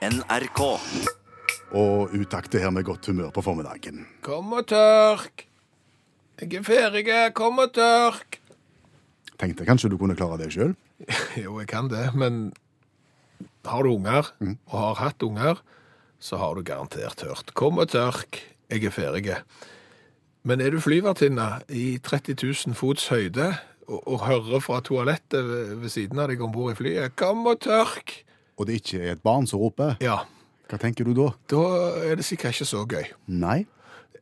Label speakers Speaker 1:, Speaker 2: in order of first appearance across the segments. Speaker 1: NRK.
Speaker 2: Og utakte her med godt humør på formiddagen.
Speaker 3: Kom og tørk. Jeg er ferdig. Kom og tørk.
Speaker 2: Tenkte kanskje du kunne klare det sjøl?
Speaker 3: Jo, jeg kan det, men har du unger, og har hatt unger, så har du garantert hørt. Kom og tørk. Jeg er ferdig. Men er du flyvertinne i 30 000 fots høyde og, og hører fra toalettet ved, ved siden av deg om bord i flyet 'Kom og tørk',
Speaker 2: Og det ikke er et barn som roper?
Speaker 3: ja,
Speaker 2: Hva tenker du da?
Speaker 3: da er det sikkert ikke så gøy.
Speaker 2: Nei.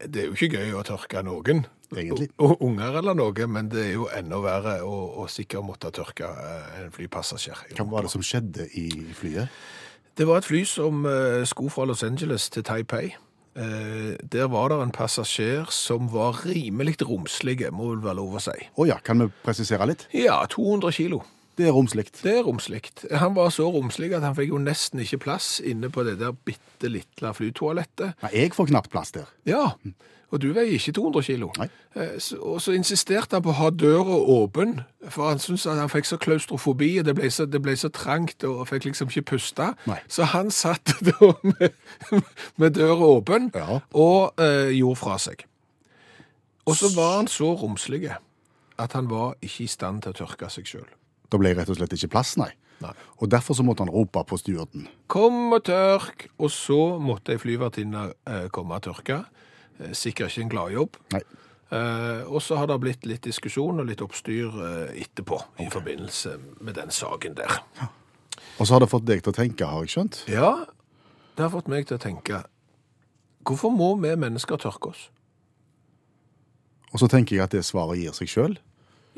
Speaker 3: Det er jo ikke gøy å tørke noen.
Speaker 2: Egentlig.
Speaker 3: Og og unger eller noe, men det er jo enda verre å, å sikkert måtte tørke eh, en flypassasjer.
Speaker 2: Hva var det som skjedde i flyet?
Speaker 3: Det var et fly som eh, skulle fra Los Angeles til Taipei. Eh, Der var det en passasjer som var rimelig romslig, må vel være lov å si.
Speaker 2: Å ja, kan vi presisere litt?
Speaker 3: Ja, 200 kilo.
Speaker 2: Det er romsligt.
Speaker 3: Det er romslig. Han var så romslig at han fikk jo nesten ikke plass inne på det der bitte lille flytoalettet.
Speaker 2: Nei, jeg får knapt plass der.
Speaker 3: Ja, og du veier ikke 200 kilo.
Speaker 2: Nei.
Speaker 3: Eh, så- Og så insisterte han på å ha døra åpen, for han syntes at han fikk så klaustrofobi, og det ble så, det ble så trangt, og fikk liksom ikke puste.
Speaker 2: Nei.
Speaker 3: Så han satt da med, med døra åpen,
Speaker 2: Ja.
Speaker 3: og eh, gjorde fra seg. Og så var han så romslig at han var ikke i stand til å tørke seg sjøl.
Speaker 2: Da ble jeg rett og slett ikke plass, nei.
Speaker 3: Nei.
Speaker 2: Og derfor så måtte han rope på styrten.
Speaker 3: Kom og tørk! Og så måtte ei flyvertinne eh, komme og tørke. Eh, Sikkert ikke en gladjobb.
Speaker 2: Nei.
Speaker 3: Eh, og så har det blitt litt diskusjon og litt oppstyr eh, etterpå i forbindelse med den saken der.
Speaker 2: Og så har det fått deg til å tenke, har jeg skjønt.
Speaker 3: Ja, det har fått meg til å tenke Hvorfor må vi mennesker tørke oss?
Speaker 2: Og så tenker jeg at det svaret gir seg sjøl.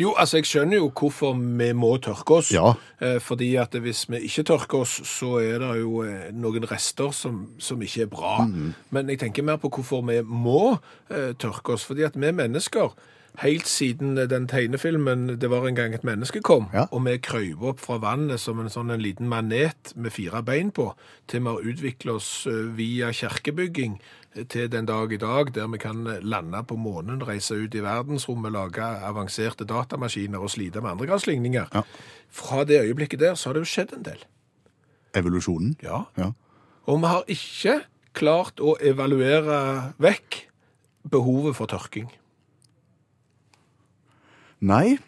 Speaker 3: Jo, altså jeg skjønner jo hvorfor vi må tørke oss.
Speaker 2: Ja.
Speaker 3: Eh, fordi at hvis vi ikke tørker oss, så er det jo eh, noen rester som, som ikke er bra.
Speaker 2: Mm.
Speaker 3: Men jeg tenker mer på hvorfor vi må eh, tørke oss. Fordi at vi mennesker, helt siden den tegnefilmen 'Det var en gang et menneske' kom,
Speaker 2: Ja.
Speaker 3: og vi krøyver opp fra vannet som en sånn en liten manet med fire bein på, til vi har utviklet oss eh, via kjerkebygging eh, til den dag i dag, der vi kan eh, lande på månen, reise ut i verdensrommet, lage avanserte datamaskiner og slite med andregradsligninger.
Speaker 2: Ja.
Speaker 3: Fra det øyeblikket der, så har det jo skjedd en del.
Speaker 2: Evolusjonen.
Speaker 3: Ja.
Speaker 2: Ja.
Speaker 3: Og vi har ikke klart å evaluere vekk behovet for tørking.
Speaker 2: Nei,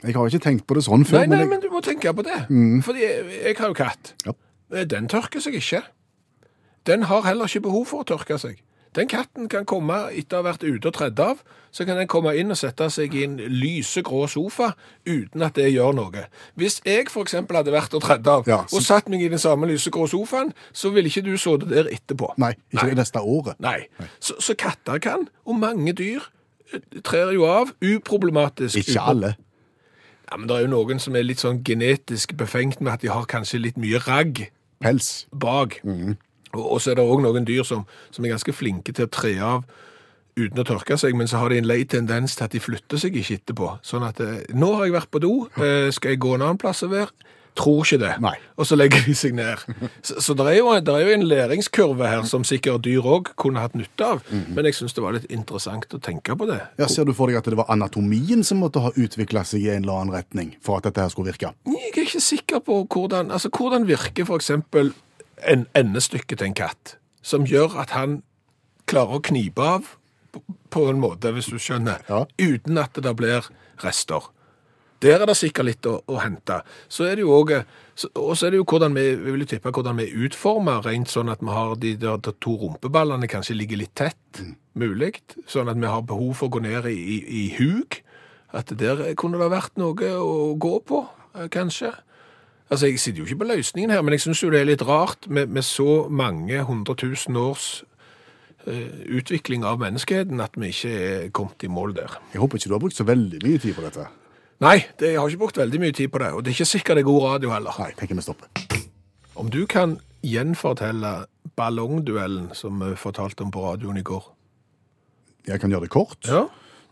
Speaker 2: jeg har ikke tenkt på det sånn før.
Speaker 3: Nei, nei,
Speaker 2: jeg-
Speaker 3: men du må tenke på det. Fordi jeg, jeg har jo katt.
Speaker 2: Ja.
Speaker 3: Eh, Den tørker seg ikke. Den har heller ikke behov for å tørke seg. Den katten kan komme etter å ha vært ute og tredd av, så kan den komme inn og sette seg i en lysegrå sofa uten at det gjør noe. Hvis jeg for eksempel hadde vært og tredd av,
Speaker 2: Ja, så-
Speaker 3: og satt meg i den samme lysegrå sofaen, så ville ikke du så det der etterpå.
Speaker 2: Nei, ikke det neste året.
Speaker 3: Nei. Så, så katter kan, og mange dyr, eh, trer jo av uproblematisk.
Speaker 2: Ikke
Speaker 3: uten-
Speaker 2: alle.
Speaker 3: ja, men det er jo noen som er litt sånn genetisk befengt med at de har kanskje litt mye ragg
Speaker 2: Pels.
Speaker 3: bak. Og, og så er det òg noen dyr som, som er ganske flinke til å tre av uten å tørke seg, men så har de en lei tendens til at de flytter seg ikke etterpå. Sånn at eh, 'Nå har jeg vært på do, eh, skal jeg gå en annen plass og være?' Tror ikke det.
Speaker 2: Nei.
Speaker 3: Og så legger de seg ned. Så, så det, er jo, det er jo en læringskurve her som sikkert dyr òg kunne hatt nytte av. Men jeg syns det var litt interessant å tenke på det.
Speaker 2: Ja, Ser du for deg at det var anatomien som måtte ha utvikla seg i en eller annen retning for at dette her skulle virke?
Speaker 3: Jeg er ikke sikker på hvordan Altså, hvordan virker for eksempel en endestykke til en katt, som gjør at han klarer å knipe av på- på en måte, hvis du skjønner,
Speaker 2: Ja.
Speaker 3: uten at det blir rester. Der er det sikkert litt å, å hente. Så er det jo også, så- og så er det jo hvordan vi, vi vil jo tippe hvordan vi utformer, rent sånn at vi har de der de to rumpeballene kanskje ligger litt tett, mulig, sånn at vi har behov for å gå ned i, i, i hug, at der kunne det vært noe å gå på, eh, kanskje. Altså, Jeg sitter jo ikke på løsningen her, men jeg syns jo det er litt rart med, med så mange hundre tusen års eh, utvikling av menneskeheten at vi ikke er kommet i mål der.
Speaker 2: Jeg håper ikke du har brukt så veldig mye tid på dette.
Speaker 3: Nei, det, jeg har ikke brukt veldig mye tid på det, og det er ikke sikkert det er god radio heller.
Speaker 2: Nei, tenker vi stopper.
Speaker 3: Om du kan gjenfortelle ballongduellen som vi fortalte om på radioen i går?
Speaker 2: Jeg kan gjøre det kort.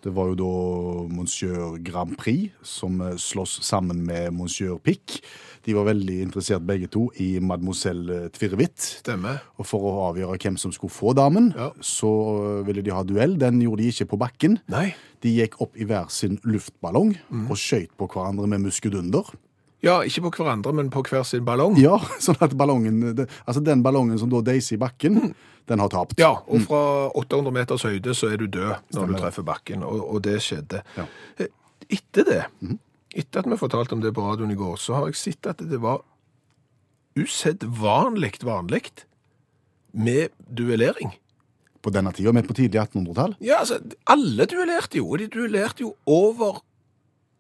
Speaker 2: Det var jo da Monsieur Grand Prix som eh, slåss sammen med Monsieur Pic. De var veldig interessert begge to i mademoiselle Tvirrevitt.
Speaker 3: Stemmer.
Speaker 2: Og for å avgjøre hvem som skulle få damen,
Speaker 3: Ja.
Speaker 2: så eh, ville de ha duell. Den gjorde de ikke på bakken.
Speaker 3: Nei.
Speaker 2: De gikk opp i hver sin luftballong og skøyt på hverandre med muskedunder.
Speaker 3: Ja, ikke på hverandre, men på hver sin ballong.
Speaker 2: Ja, sånn at ballongen, det- altså den ballongen som da deiser i bakken, den har tapt.
Speaker 3: Mm. Ja, og fra 800 meters høyde så er du død når du
Speaker 2: det.
Speaker 3: treffer bakken, og, og det skjedde.
Speaker 2: Ja. Mhm.
Speaker 3: Eh, Etter det, etter at vi fortalte om det på radioen i går, så har jeg sett at det var usedvanlig vanlig med duellering.
Speaker 2: På denne tida, men på tidlig 1800-tall.
Speaker 3: Ja, altså, alle duellerte jo, og de duellerte jo over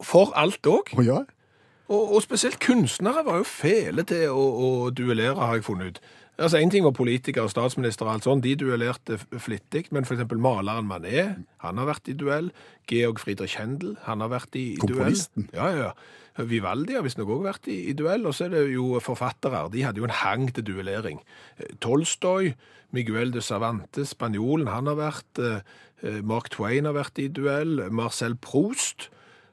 Speaker 3: for alt òg.
Speaker 2: Å ja.
Speaker 3: Og, og spesielt kunstnere var jo fæle til å, å duellere, har jeg funnet ut. Altså, En ting var politikere og statsminister og alt sånt, de duellerte f- flittig, men f.eks. maleren Manet, han har vært i duell. Georg Friedrich Händel, han har vært i, i duell.
Speaker 2: Komponisten.
Speaker 3: Ja, ja. Vivaldi har visstnok òg vært i, i duell. Og så er det jo forfattere, de hadde jo en hang til duellering. Eh, Tolstoy, Miguel de Cervantes, spanjolen, han har vært. eh, eh, Mark Twain har vært i duell. Marcel Proust.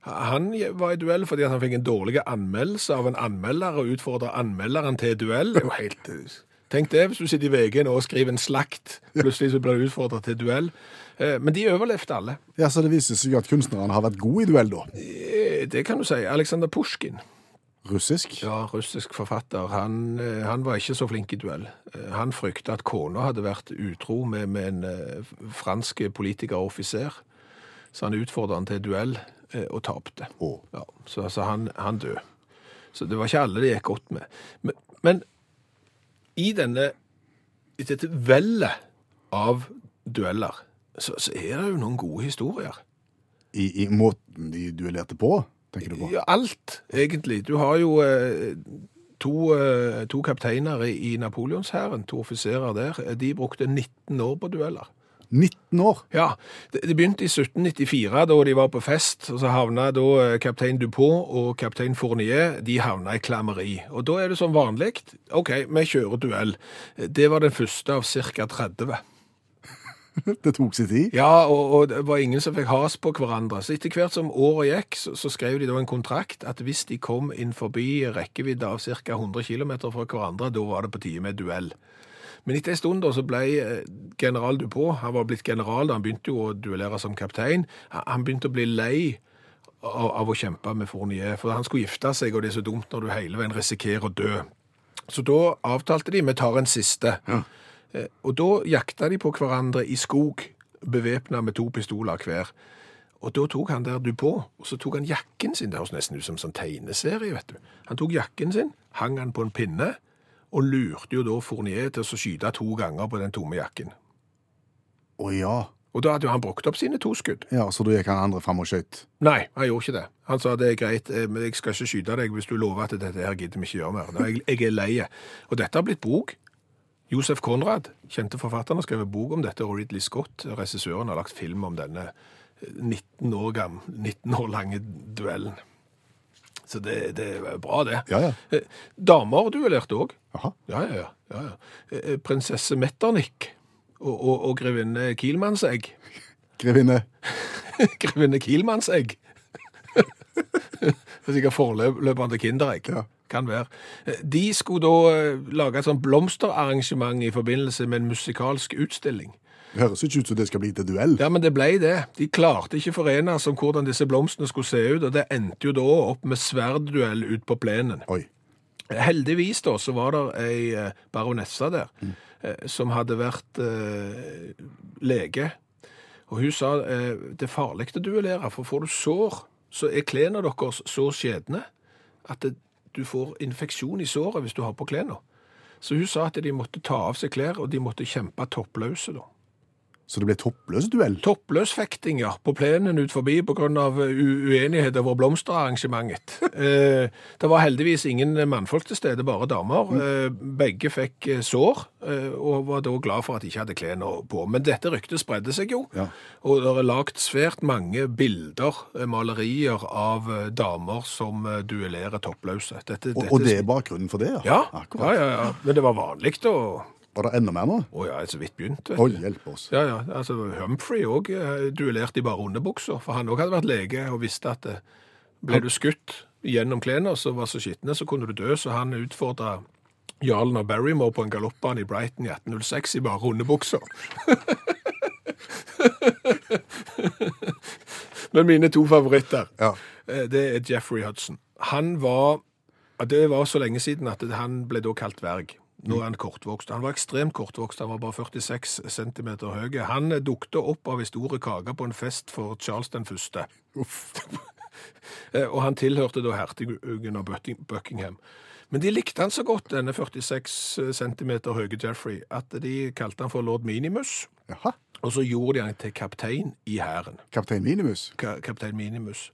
Speaker 3: Han var i duell fordi at han fikk en dårlig anmeldelse av en anmelder, og utfordra anmelderen til duell. Det er jo helt... eh, Tenk det, hvis du sitter i VG nå og skriver en slakt, plutselig så blir du utfordra til duell. Eh, Men de overlevde alle.
Speaker 2: ja, så det viser seg at kunstnerne har vært gode i duell, da.
Speaker 3: Eh, Det kan du si. Aleksandr Pusjkin,
Speaker 2: Russisk.
Speaker 3: ja, russisk forfatter, han, eh, han var ikke så flink i duell. Eh, Han frykta at kona hadde vært utro med, med en eh, fransk politiker og offiser, så han utfordra han til duell, eh, og tapte.
Speaker 2: Å.
Speaker 3: Ja, så altså, han, han døde. Så det var ikke alle det gikk godt med. Men, men i denne, i dette vellet av dueller, så, så er det jo noen gode historier.
Speaker 2: I, I måten de duellerte på, tenker du på?
Speaker 3: Ja, alt, egentlig. Du har jo eh, to, eh, to kapteiner i i Napoleonshæren, to offiserer der. De brukte 19 år på dueller.
Speaker 2: 19 år!
Speaker 3: Ja, det, det begynte i 1794 da de var på fest, og så havna da eh, kaptein Dupont og kaptein Fournier, de havna i klammeri. Og da er det som vanlig, ok, vi kjører duell. Det var den første av ca. 30.
Speaker 2: Det tok sin tid.
Speaker 3: Ja, og, og det var ingen som fikk has på hverandre. Så etter hvert som året gikk, så, så skrev de da en kontrakt at hvis de kom inn forbi rekkevidde av ca. 100 km fra hverandre, da var det på tide med duell. Men etter en stund da, så ble eh, general Dupont, han var blitt general, da, han begynte jo å duellere som kaptein, han han begynte å bli lei av, av å kjempe med Fournier, for han skulle gifte seg, og det er så dumt når du hele veien risikerer å dø. Så da avtalte de, vi tar en siste. Eh, Og da jakta de på hverandre i skog, bevæpna med to pistoler hver. Og da tok han der du på, og så tok han jakken sin. Det høres nesten ut som en sånn tegneserie, vet du. Han tok jakken sin, hang han på en pinne, og lurte jo da Fournier til å skyte to ganger på den tomme jakken.
Speaker 2: Å ja.
Speaker 3: Og da hadde jo han brukt opp sine to skudd.
Speaker 2: ja. Så da gikk han andre fram og skøyt.
Speaker 3: Nei, han gjorde ikke det. Han sa det er greit, eh, men jeg skal ikke skyte deg hvis du lover at dette her gidder vi ikke gjøre mer. Nå, Jeg, jeg er leie. Og dette har blitt bok. Josef Konrad, kjente forfatteren, har skrevet bok om dette, og Ridley Scott, regissøren, har lagt film om denne eh, 19 år, gam- 19 år lange duellen. Så det, det er bra, det.
Speaker 2: Ja, ja.
Speaker 3: Eh, Damer duellerte òg.
Speaker 2: Jaha.
Speaker 3: Ja, ja, ja. ja, ja. Eh, eh, Prinsesse Metternich og, og, og grevinne Kielmannsegg.
Speaker 2: Grevinne.
Speaker 3: Grevinne Kielmannsegg. Det er sikkert forløperen til Kinderegg. Kan være. De skulle da eh, lage et sånt blomsterarrangement i forbindelse med en musikalsk utstilling.
Speaker 2: Det høres ikke ut som det skal bli til duell.
Speaker 3: Ja, men det ble det. De klarte ikke forenes om hvordan disse blomstene skulle se ut, og det endte jo da opp med sverdduell ut på plenen.
Speaker 2: Oi.
Speaker 3: Heldigvis da, så var det ei eh, baronessa der, eh, som hadde vært eh, lege. Og hun sa, eh, det er farlig å duellere, for får du sår, så er klærne deres så skjedne at det, du får infeksjon i såret hvis du har på klærne. Så hun sa at de måtte ta av seg klær, og de måtte kjempe toppløse da.
Speaker 2: Så det ble toppløs duell.
Speaker 3: Toppløsfekting, ja, på plenen ut forbi på grunn av eh, u- uenighet over blomsterarrangementet. eh, det var heldigvis ingen mannfolk til stede, bare damer.
Speaker 2: Mm.
Speaker 3: Eh, begge fikk eh, sår, eh, og var da glad for at de ikke hadde klærne på. Men dette ryktet spredde seg jo,
Speaker 2: Ja.
Speaker 3: og det er lagt svært mange bilder, eh, malerier, av eh, damer som eh, duellerer toppløse. Dette,
Speaker 2: Og,
Speaker 3: dette-
Speaker 2: og det er bakgrunnen for det,
Speaker 3: Ja, ja,
Speaker 2: Akkurat.
Speaker 3: ja, ja. Men det var vanlig da.
Speaker 2: Var det enda mer nå?
Speaker 3: Å ja, jeg er så vidt begynt, vet du.
Speaker 2: Oi, hjelp oss.
Speaker 3: Ja, ja. altså Humphrey òg duellerte i bare underbukser, for han òg hadde vært lege og visste at eh, ble du skutt gjennom klærne som var så skitne, så kunne du dø, så han utfordra jarlen av Barrymore på en galoppbane i Brighton i 1806 i bare underbukser. Men mine to favoritter,
Speaker 2: Ja.
Speaker 3: eh, det er Jeffrey Hudson. Han var Ja, Det var så lenge siden at han ble da kalt dverg. Nå er han kortvokst. Han var ekstremt kortvokst, han var bare 46 cm høy. Han dukte opp av ei stor kake på en fest for Charles den første. Eh, og han tilhørte da hertugen av Butting- Buckingham. Men de likte han så godt, denne 46 cm høye Jeffrey, at de kalte han for lord Minimus.
Speaker 2: Jaha.
Speaker 3: Og så gjorde de han til kaptein i hæren.
Speaker 2: Kaptein Minimus.
Speaker 3: Ka- kaptein Minimus.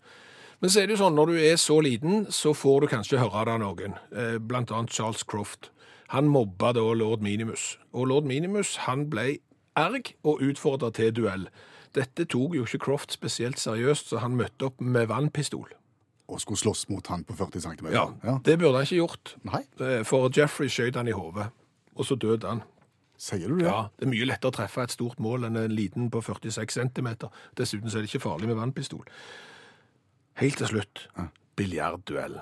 Speaker 3: Men så er det jo sånn, når du er så liten, så får du kanskje høre det av noen. Eh, Blant annet Charles Croft. Han mobba da lord Minimus. Og lord Minimus han ble erg og utfordra til duell. Dette tok jo ikke Croft spesielt seriøst, så han møtte opp med vannpistol.
Speaker 2: Og skulle slåss mot han på 40 cm.
Speaker 3: Ja, Det burde han ikke gjort,
Speaker 2: Nei,
Speaker 3: Eh, for Jeffrey skjøt han i hodet. Og så døde han.
Speaker 2: sier du det?
Speaker 3: Ja, Det er mye lettere å treffe et stort mål enn en liten på 46 cm. Dessuten så er det ikke farlig med vannpistol. Helt til slutt biljardduellen.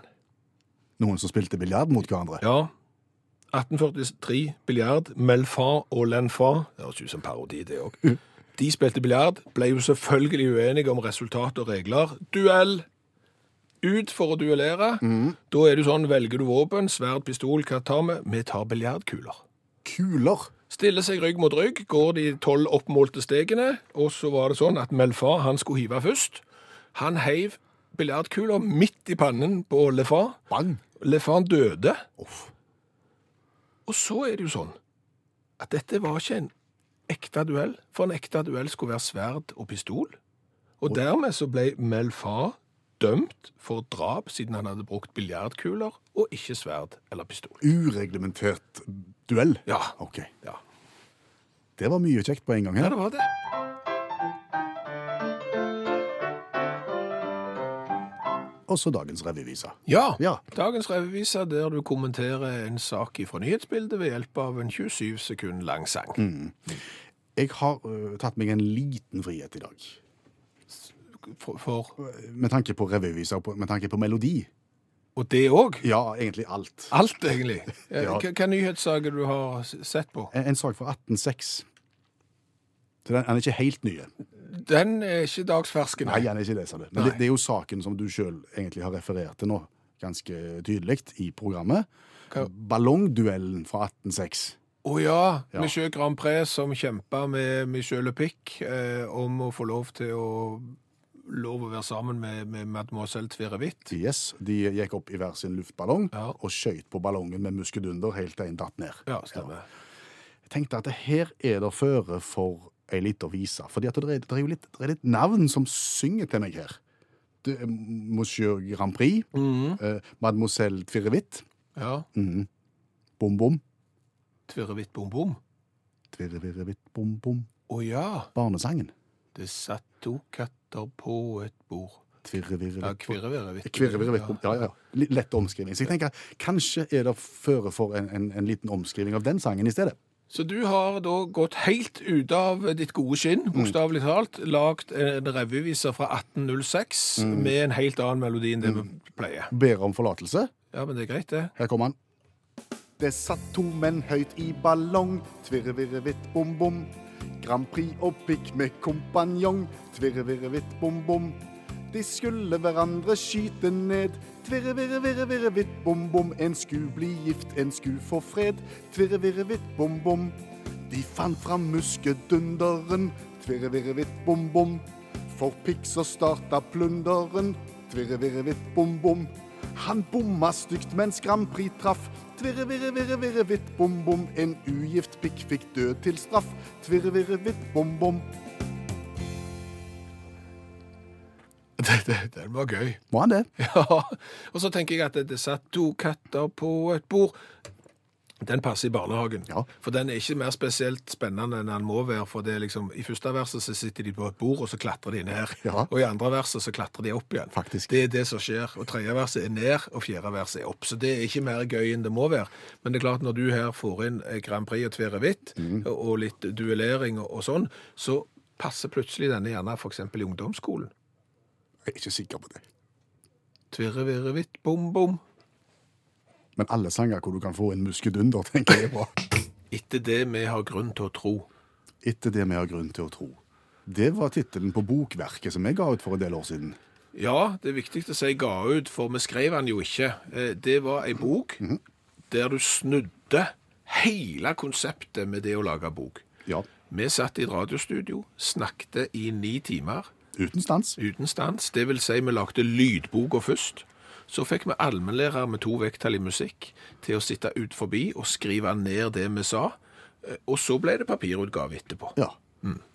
Speaker 2: Noen som spilte biljard mot hverandre?
Speaker 3: Ja. 1843, biljard, Melfar og Lenfar. Det høres ut som parodi, det òg. De spilte biljard, ble jo selvfølgelig uenige om resultat og regler. Duell! Ut for å duellere. Da er det sånn, velger du våpen, sverd, pistol, hva tar vi? Vi tar biljardkuler.
Speaker 2: Kuler!
Speaker 3: Stille seg rygg mot rygg, går de tolv oppmålte stegene, og så var det sånn at Melfar han skulle hive først. Han heiv biljardkula midt i pannen på Lefar.
Speaker 2: Bang!
Speaker 3: Lefar døde.
Speaker 2: Uff.
Speaker 3: Og så er det jo sånn at dette var ikke en ekte duell, for en ekte duell skulle være sverd og pistol. Og dermed så ble Melfar dømt for drap siden han hadde brukt biljardkuler og ikke sverd eller pistol.
Speaker 2: Ureglementert duell.
Speaker 3: Ja.
Speaker 2: OK.
Speaker 3: Ja,
Speaker 2: Det var mye kjekt på en gang
Speaker 3: ja
Speaker 2: her.
Speaker 3: det var det.
Speaker 2: Og så dagens revyvise.
Speaker 3: Ja.
Speaker 2: Ja.
Speaker 3: Dagens revyvise der du kommenterer en sak fra nyhetsbildet ved hjelp av en 27 sekund lang sang.
Speaker 2: Mm. Jeg har øh, tatt meg en liten frihet i dag.
Speaker 3: For, for,
Speaker 2: Med tanke på revyvise og på- med tanke på melodi.
Speaker 3: og det òg.
Speaker 2: Ja, egentlig alt.
Speaker 3: Alt, egentlig. Eh,
Speaker 2: Ja.
Speaker 3: Hva hva nyhetssaker du har s- sett på?
Speaker 2: En, en sak fra 1806. Så den, den er ikke helt nye.
Speaker 3: Den er ikke dagsfersken.
Speaker 2: Nei, jeg er ikke leser det. Men det,
Speaker 3: Nei.
Speaker 2: det er jo saken som du sjøl egentlig har referert til nå, ganske tydelig, i programmet.
Speaker 3: Hva-
Speaker 2: Ballongduellen fra 1806.
Speaker 3: Å ja,
Speaker 2: Ja.
Speaker 3: Michel Grand Prix som kjempa med Michel Le Pic eh, om å få lov til å lov å være sammen med, med mademoiselle Tverevitt.
Speaker 2: Yes, de gikk opp i hver sin luftballong
Speaker 3: Ja.
Speaker 2: og skøyt på ballongen med muskedunder helt til en datt ned.
Speaker 3: Ja, stemmer.
Speaker 2: Jeg tenkte at det her er det føre for ei lita vise. Fordi at det er, det er jo litt, det er litt navn som synger til meg her. Det er Monsieur Grand Prix, eh, Mademoiselle Tvirrevitt,
Speaker 3: Mm-hmm. Ja.
Speaker 2: Bom Bom,
Speaker 3: Tverevitt Bom Bom.
Speaker 2: Tvirrevirrevitt, Bom Bom,
Speaker 3: Å ja.
Speaker 2: barnesangen.
Speaker 3: Det satt to katter på et bord. Ja,
Speaker 2: Tvirrevirrevitt.
Speaker 3: kvirrevirrevitt.
Speaker 2: Kvirrevirrevitt, Bom- ja, ja, ja. Litt Lett omskriving. Så jeg tenker, kanskje er det føre for en, en, en liten omskriving av den sangen i stedet.
Speaker 3: Så du har da gått helt ut av ditt gode skinn, bokstavelig talt, lagd en revyviser fra 1806 med en helt annen melodi enn det vi pleier.
Speaker 2: Ber om forlatelse.
Speaker 3: Ja, men det er greit, det.
Speaker 2: Her kommer han. Det satt to menn høyt i ballong. Tvirrevirrevitt, bom, bom. Grand Prix og pikk med kompanjong. Tvirrevirrevitt, bom, bom. De skulle hverandre skyte ned. Tvirrevirrevirrevirrevitt, bom, bom. En sku bli gift, en sku få fred. Tvirrevirrevitt, bom, bom. De fant fram muskedunderen. Tvirrevirrevitt, bom, bom. For pikk så starta plunderen. Tvirrevirrevitt, bom, bom. Han bomma stygt mens Grand Prix traff. Tvirre, virre, virre, virre, vitt, bom, bom. En ugift pikk fikk død til straff. Tvirre, virre, vitt, bom, bom.
Speaker 3: Det- det- Den var gøy.
Speaker 2: Må han det?
Speaker 3: Ja, og så tenker jeg at det satt to katter på et bord. Den passer i barnehagen.
Speaker 2: Ja.
Speaker 3: For den er ikke mer spesielt spennende enn den må være. for det er liksom, I første verset så sitter de på et bord, og så klatrer de ned.
Speaker 2: Ja.
Speaker 3: Og i andre verset så klatrer de opp igjen.
Speaker 2: Faktisk.
Speaker 3: Det er det som skjer. Og tredje verset er ned, og fjerde verset er opp. Så det er ikke mer gøy enn det må være. Men det er klart, når du her får inn eh, Grand Prix og Tverevitt,
Speaker 2: Mm.
Speaker 3: og litt duellering og, og sånn, så passer plutselig denne gjerne f.eks. i ungdomsskolen.
Speaker 2: Jeg er ikke sikker på det.
Speaker 3: Tvirrevirrevitt, bom, bom.
Speaker 2: Men alle sanger hvor du kan få en muskedunder, tenker jeg er bra.
Speaker 3: Etter det vi har grunn til å tro.
Speaker 2: Etter det vi har grunn til å tro. Det var tittelen på bokverket som jeg ga ut for en del år siden.
Speaker 3: Ja, det er viktig å si ga ut, for vi skrev den jo ikke. Eh, Det var ei bok
Speaker 2: Mhm.
Speaker 3: der du snudde hele konseptet med det å lage bok.
Speaker 2: Ja.
Speaker 3: Vi satt i et radiostudio, snakket i ni timer
Speaker 2: Uten stans.
Speaker 3: uten stans. Det vil si, vi lagde lydboka først. Så fikk vi allmennlærer med to vekttall i musikk til å sitte ut forbi og skrive ned det vi sa. Eh, Og så ble det papirutgave etterpå.
Speaker 2: Ja.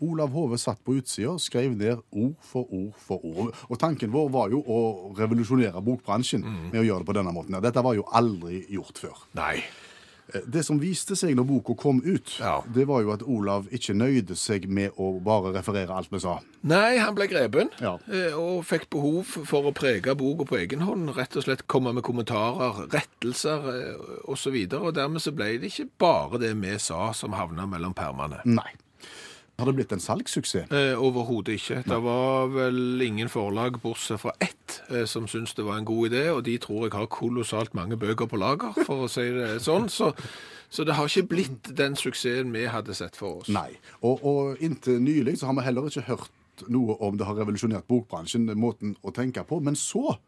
Speaker 2: Olav Hove satt på utsida og skrev ned ord for ord for ord. Og tanken vår var jo å revolusjonere bokbransjen med å gjøre det på denne måten. Ja, Dette var jo aldri gjort før.
Speaker 3: Nei.
Speaker 2: Eh, Det som viste seg når boka kom ut,
Speaker 3: Ja.
Speaker 2: det var jo at Olav ikke nøyde seg med å bare referere alt vi sa.
Speaker 3: Nei, han ble grepen
Speaker 2: Ja.
Speaker 3: eh, og fikk behov for å prege boka på egen hånd. Rett og slett komme med kommentarer, rettelser eh, osv. videre, og dermed så ble det ikke bare det vi sa som havna mellom permene.
Speaker 2: Nei. Har det blitt en salgssuksess?
Speaker 3: Eh, Overhodet ikke. Det var vel ingen forlag, bortsett fra ett, eh, som syntes det var en god idé, og de tror jeg har kolossalt mange bøker på lager, for å si det sånn. Så, så det har ikke blitt den suksessen vi hadde sett for oss.
Speaker 2: Nei. Og, og inntil nylig så har vi heller ikke hørt noe om det har revolusjonert bokbransjen, den måten å tenke på. Men så,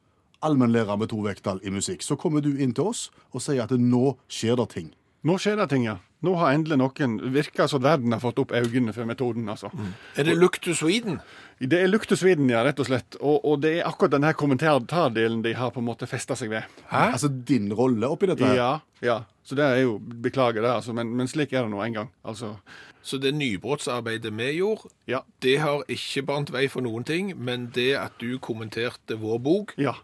Speaker 2: allmennlærer med to vekttall i musikk, så kommer du inn til oss og sier at nå skjer det ting.
Speaker 1: Nå skjer det ting, ja. Nå har endelig noen virka som verden har fått opp øynene for metoden, altså.
Speaker 3: Er det Look to Sweden?
Speaker 1: Det er luktesviden, ja, rett og slett. Og, og det er akkurat denne kommentardelen de har på en måte festa seg ved.
Speaker 3: Hæ?
Speaker 2: Altså din rolle oppi dette. her.
Speaker 1: Ja, ja. Så det er jo Beklager det, altså, men, men slik er det nå en gang. Altså,
Speaker 3: Så det nybrottsarbeidet vi gjorde,
Speaker 1: ja.
Speaker 3: det har ikke bant vei for noen ting, men det at du kommenterte vår bok
Speaker 1: Ja.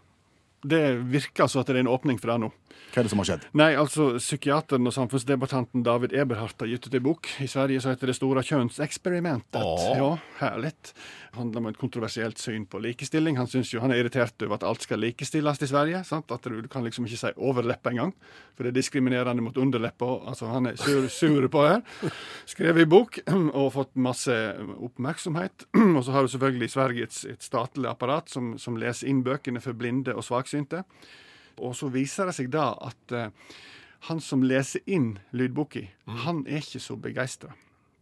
Speaker 1: Det virker så at det er en åpning for det nå.
Speaker 2: Hva er det som har skjedd?
Speaker 1: Nei, altså, psykiateren og samfunnsdebattanten David Eberhardt har gitt ut ei bok. I Sverige så heter det Stora kjønnseksperimentet.
Speaker 3: Åh.
Speaker 1: Ja, herlig. Handler om et kontroversielt syn på likestilling. Han synes jo han er irritert over at alt skal likestilles i Sverige. sant? At du, du kan liksom ikke si overleppe engang, for det er diskriminerende mot underleppa. Altså, han er sur, sur på her. Skrevet i bok og fått masse oppmerksomhet. Og så har du selvfølgelig i Sverige et, et statlig apparat som, som leser inn bøkene for blinde og svaksynte. Og så viser det seg da at eh, han som leser inn lydboka, han er ikke så begeistra.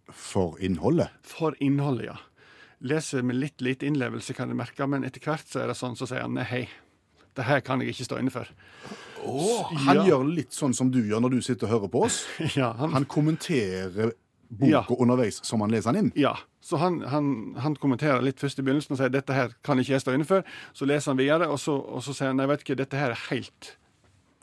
Speaker 2: For innholdet?
Speaker 1: For innholdet, ja. Leser med litt lite innlevelse, kan jeg merke, men etter hvert så er det sånn, så sier han nei, hei. Det her kan jeg ikke stå inne for.
Speaker 2: Han
Speaker 1: Ja.
Speaker 2: gjør litt sånn som du gjør når du sitter og hører på oss.
Speaker 1: Ja, han,
Speaker 2: Han kommenterer boka
Speaker 1: Ja.
Speaker 2: underveis som han leser den inn.
Speaker 1: ja. Så han, han, han kommenterer litt først i begynnelsen og sier dette her kan ikke jeg stå inne for. Så leser han videre, og så, og så sier han nei, vet du hva, dette her er helt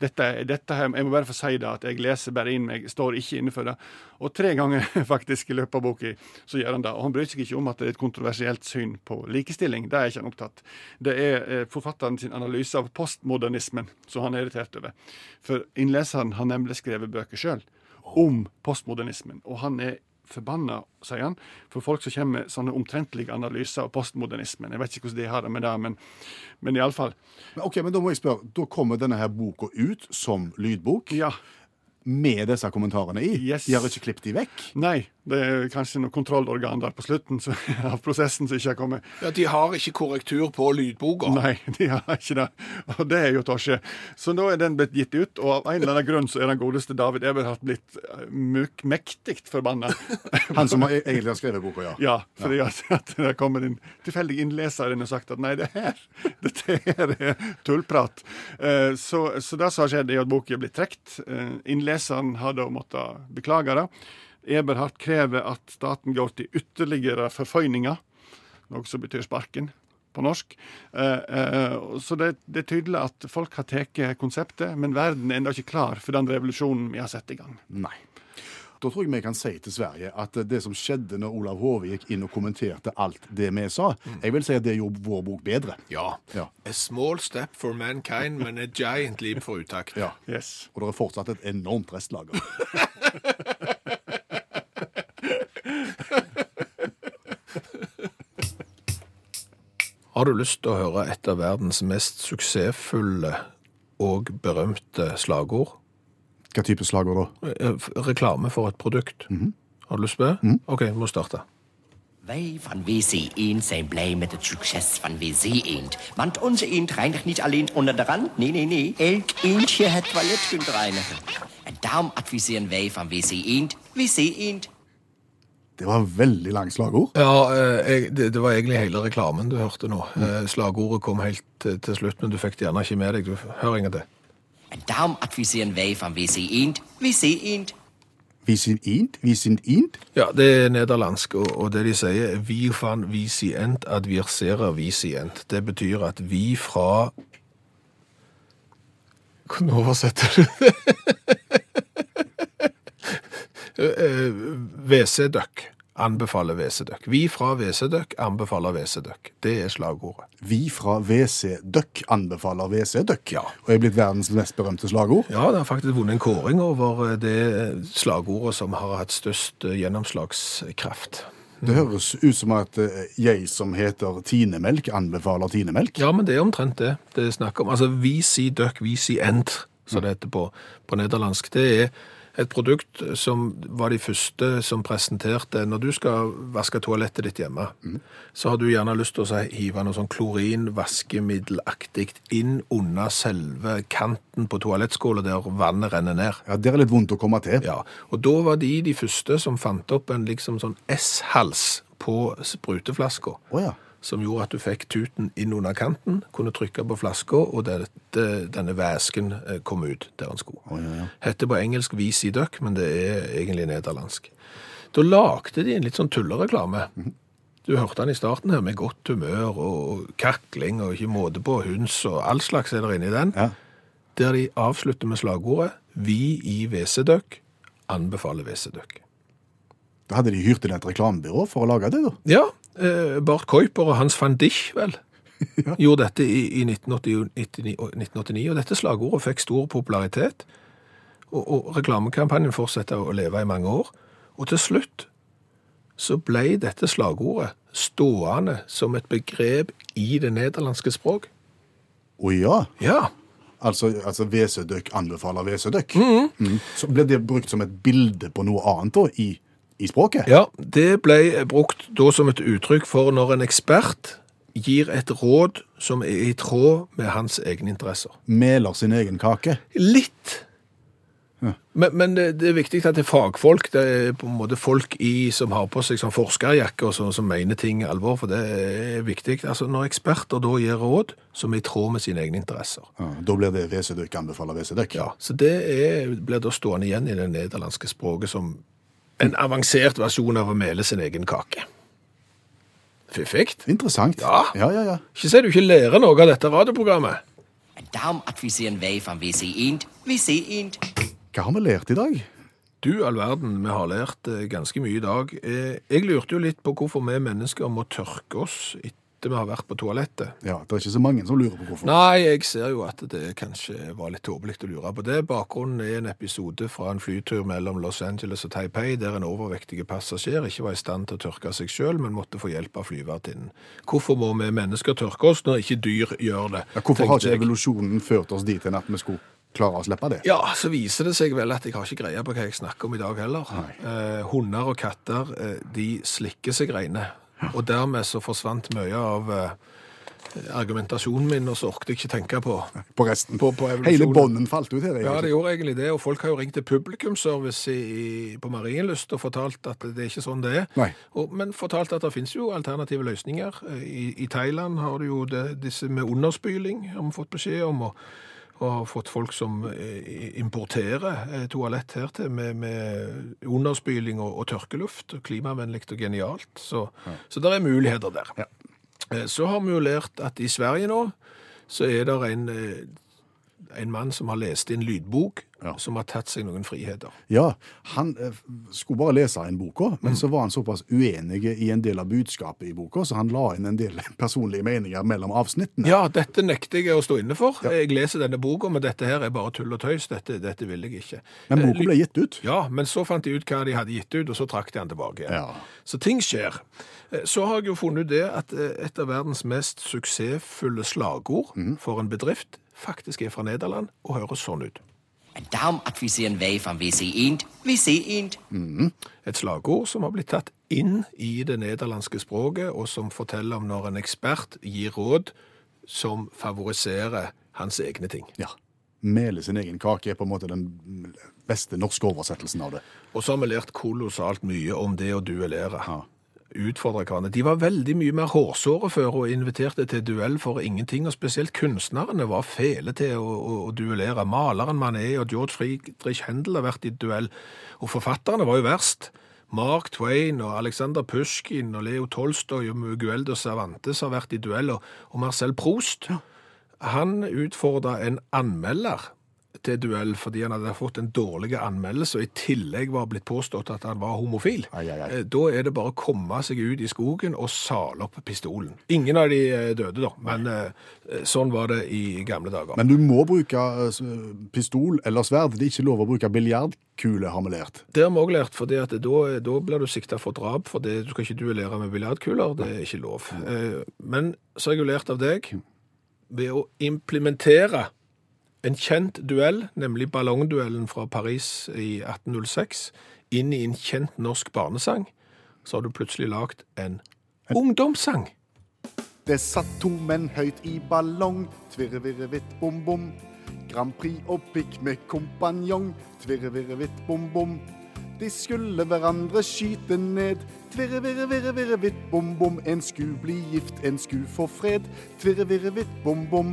Speaker 1: dette, dette her, Jeg må bare få si det, at jeg leser bare inn meg, står ikke innenfor det. Og tre ganger faktisk i løpet av boka så gjør han det. Og han bryr seg ikke om at det er et kontroversielt syn på likestilling. Det er ikke han opptatt. Det er eh, forfatteren sin analyse av postmodernismen som han er irritert over. For innleseren har nemlig skrevet bøker sjøl om postmodernismen. Og han er forbanna, sier han, for folk som kommer med sånne omtrentlige analyser av postmodernismen. Jeg vet ikke hvordan de har det med det, men, men iallfall.
Speaker 2: Men, ok, men da må jeg spørre, da kommer denne her boka ut som lydbok
Speaker 1: Ja.
Speaker 2: med disse kommentarene i.
Speaker 1: Yes.
Speaker 2: De har ikke klippet de vekk.
Speaker 1: Nei, det er kanskje noe kontrollorgan der på slutten så, av prosessen som ikke har kommet.
Speaker 3: Ja, de har ikke korrektur på lydboka.
Speaker 1: Nei, de har ikke det. Og det er jo tosje. Så nå er den blitt gitt ut, og av en eller annen grunn så er den godeste David Eberhardt blitt eh, myk- mektig forbanna.
Speaker 2: Han som har, egentlig har skrevet boka, ja.
Speaker 1: Ja, fordi at, at det kommer en tilfeldig innleser inn og sagt at nei, det her, dette her er tullprat. Eh, så, så det som har skjedd, er at boka er blitt trukket. Eh, innleseren har da måttet beklage det. Eberhardt krever at staten går til ytterligere forføyninger, noe som betyr sparken på norsk. Eh, eh, så det, det er tydelig at folk har tatt konseptet, men verden er ennå ikke klar for den revolusjonen vi har satt i gang.
Speaker 2: Nei. Da tror jeg vi kan si til Sverige at eh, det som skjedde når Olav Hove gikk inn og kommenterte alt det vi sa, jeg vil si at det gjorde vår bok bedre.
Speaker 3: Ja.
Speaker 2: Ja.
Speaker 3: A small step for mankind, men a giant leap for utakt.
Speaker 2: Ja.
Speaker 1: Yes.
Speaker 2: Og det er fortsatt et enormt restlager.
Speaker 3: Har du lyst til å høre et av verdens mest suksessfulle og berømte slagord?
Speaker 2: Hva type slager da?
Speaker 3: Eh, f- Reklame for et produkt. Har du lyst på det? OK, vi må starte.
Speaker 4: Wij van WC1 zijn blij met het succes van WC1. Want onze eend reinigt niet alleen onder de rand. Nee, nee, nee. Elk eendje het toilet kunt reinigen. En daarom adviseren wij van WC1, WC1.
Speaker 2: Det var veldig langt slagord.
Speaker 3: Ja, eh, jeg, det, det var egentlig hele reklamen du hørte nå. Eh, Slagordet kom helt eh, til slutt, men du fikk det gjerne ikke med deg. Du hører ingen til.
Speaker 4: Men darum advisieren vi von wie sie int, wie sie int.
Speaker 2: Vi sind int, vi sind int.
Speaker 3: Ja, det er nederlandsk, og, og det de sier Vi van visient ad virsera visient. Det betyr at vi fra Hvordan oversetter du det? Eh, WC-døkk. Anbefaler WC-døkk. Vi fra WC-døkk anbefaler WC-døkk. Det er slagordet.
Speaker 2: Vi fra WC Duck anbefaler WC Duck.
Speaker 3: Ja.
Speaker 2: Og er blitt verdens mest berømte slagord.
Speaker 3: Ja, det har faktisk vunnet en kåring over eh, det slagordet som har hatt størst eh, gjennomslagskraft.
Speaker 2: Det høres ut som at eh, jeg som heter Tinemelk, anbefaler Tinemelk.
Speaker 3: Ja, men det er omtrent det det er snakk om. Altså, vi sier døkk, vi sier ent, som det heter på, på nederlandsk. Det er et produkt som var de første som presenterte Når du skal vaske toalettet ditt hjemme, så har du gjerne lyst til å så hive noe sånn klorinvaskemiddelaktig inn under selve kanten på toalettskåla der vannet renner ned.
Speaker 2: Ja, Der er litt vondt å komme til.
Speaker 3: Ja, og da var de de første som fant opp en liksom sånn S-hals på spruteflaska.
Speaker 2: Å ja.
Speaker 3: Som gjorde at du fikk tuten inn under kanten, kunne trykke på flaska, og dette, denne væsken eh, kom ut der den skulle. Hette på engelsk Visidøk, men det er egentlig nederlandsk. Da lagde de en litt sånn tullereklame. Du hørte han i starten her med godt humør og kakling og ikke måte på hunds og all slags er der inne i den
Speaker 2: Ja.
Speaker 3: der de avslutter med slagordet «Vi i WC-døkk anbefaler WC-døkk».
Speaker 2: Da hadde de hyrt inn et reklamebyrå for å lage det, da.
Speaker 3: Ja, eh, Bart Kuiper og Hans van Dijk, vel, gjorde dette i, i 1980 1989, og 1989, og dette slagordet fikk stor popularitet, og, og reklamekampanjen fortsatte å leve i mange år, og til slutt så ble dette slagordet stående som et begrep i det nederlandske språk.
Speaker 2: Å ja.
Speaker 3: Ja,
Speaker 2: Altså, altså WC Duck anbefaler WC Duck.
Speaker 3: Mhm.
Speaker 2: Mm. Så ble det brukt som et bilde på noe annet da, i, i språket?
Speaker 3: Ja, det ble brukt da som et uttrykk for når en ekspert gir et råd som er i tråd med hans egne interesser.
Speaker 2: Meler sin egen kake.
Speaker 3: Litt. Men, men det, det er viktig at det er fagfolk, det er på en måte folk i, som har på seg sånn forskerjakke og sånn, som mener ting i alvor, for det er viktig. Altså, når eksperter da gir råd som er i tråd med sine egne interesser.
Speaker 2: Ja, da blir det WC Duck anbefaler WC Duck.
Speaker 3: Ja, så det er, blir da stående igjen i det nederlandske språket som en avansert versjon av å mele sin egen kake. Fiffigt.
Speaker 2: Interessant.
Speaker 3: Ja.
Speaker 2: ja, ja. ja.
Speaker 3: Ikke si du ikke lærer noe av dette radioprogrammet.
Speaker 4: Men darum advisieren vi von wie sie int, wie sie int.
Speaker 2: Hva har vi lært i dag?
Speaker 3: Du all verden, vi har lært eh, ganske mye i dag. Eh, Jeg lurte jo litt på hvorfor vi mennesker må tørke oss etter vi har vært på toalettet.
Speaker 2: Ja, Det er ikke så mange som lurer på hvorfor.
Speaker 3: Nei, jeg ser jo at det kanskje var litt tåpelig å lure på det. Bakgrunnen er en episode fra en flytur mellom Los Angeles og Taipei, der en overvektig passasjer ikke var i stand til å tørke seg sjøl, men måtte få hjelp av flyvertinnen. Hvorfor må vi mennesker tørke oss når ikke dyr gjør det?
Speaker 2: Ja, hvorfor har
Speaker 3: tenkte
Speaker 2: ikke
Speaker 3: jeg.
Speaker 2: evolusjonen ført oss dit hen at vi skulle klare å slippe det?
Speaker 3: Ja, så viser det seg vel at jeg har ikke greie på hva jeg snakker om i dag heller. Eh, hunder og katter, eh, de slikker seg reine. Og dermed så forsvant mye av eh, argumentasjonen min, og så orket jeg ikke tenke på.
Speaker 2: På resten.
Speaker 3: På- på evolusjonen.
Speaker 2: Hele bånden falt ut her.
Speaker 3: Ja, det
Speaker 2: egentlig.
Speaker 3: gjorde egentlig det, og folk har jo ringt til publikumsservice i, i, på Marienlyst og fortalt at det er ikke sånn det er.
Speaker 2: Nei.
Speaker 3: Og, men fortalt at det finnes jo alternative løsninger. Eh, I, i Thailand har du jo det, disse med underspyling, har vi fått beskjed om, og, og har fått folk som eh, importerer eh, toalett her til med, med underspyling og, og tørkeluft, og klimavennlig og genialt. Så, så det er muligheter der. Eh, Så har vi jo lært at i Sverige nå, så er det en, eh, en mann som har lest inn lydbok,
Speaker 2: Ja.
Speaker 3: som har tatt seg noen friheter.
Speaker 2: ja, Han eh, skulle bare lese en bok, også, men så var han såpass uenig i en del av budskapet i boka, så han la inn en del personlige meninger mellom avsnittene.
Speaker 3: Ja, dette nekter jeg å stå inne for. Jeg leser denne boka, men dette her er bare tull og tøys. Dette, dette vil jeg ikke.
Speaker 2: Men
Speaker 3: Eh,
Speaker 2: boka ble gitt ut.
Speaker 3: Ja, men så fant de ut hva de hadde gitt ut, og så trakk de den tilbake igjen.
Speaker 2: Ja.
Speaker 3: Så ting skjer. Eh, Så har jeg jo funnet ut det at eh, et av verdens mest suksessfulle slagord
Speaker 2: Mhm.
Speaker 3: for en bedrift faktisk er fra Nederland og høres sånn ut.
Speaker 4: Men darum advisieren vi von wie sie int, wie sie int.
Speaker 3: Et slagord som har blitt tatt inn i det nederlandske språket, og som forteller om når en ekspert gir råd som favoriserer hans egne ting.
Speaker 2: Ja. Mele sin egen kake er på en måte den beste norske oversettelsen av det.
Speaker 3: Og så har vi lært kolossalt mye om det å duellere. Utfordre hverandre. De var veldig mye mer hårsåre før og inviterte til duell for ingenting. Og spesielt kunstnerne var fæle til å, å, å duellere. Maleren Manet og George Friedrich Händel har vært i duell. Og forfatterne var jo verst. Mark Twain og Alexander Pusjkin og Leo Tolstoy og Miguel de Cervantes har vært i duell. Og, og Marcel Proust han utfordra en anmelder til duell fordi han hadde fått en dårlig anmeldelse, og i tillegg var blitt påstått at han var homofil.
Speaker 2: Ai, ai, ai.
Speaker 3: Eh, Da er det bare å komme seg ut i skogen og sale opp pistolen. Ingen av de eh, døde, da, men eh, sånn var det i gamle dager.
Speaker 2: Men du må bruke eh, s- pistol eller sverd. Det er ikke lov å bruke biljardkule, har vi lært.
Speaker 3: det har vi òg lært, for da, da blir du sikta for drap, for det, du skal ikke duellere med biljardkuler. Det er ikke lov. Eh, Men så har jeg jo lært av deg ved å implementere en kjent duell, nemlig ballongduellen fra Paris i 1806, inn i en kjent norsk barnesang, så har du plutselig lagd en ungdomssang.
Speaker 2: Det satt to menn høyt i ballong. Tvirre, virre, vitt, bom, bom. Grand Prix og pikk med kompanjong. Tvirre, virre, vitt, bom, bom. De skulle hverandre skyte ned. Tvirre, virre, virre, virre, vitt, bom, bom. En sku bli gift, en sku få fred. Tvirre, virre, vitt, bom, bom.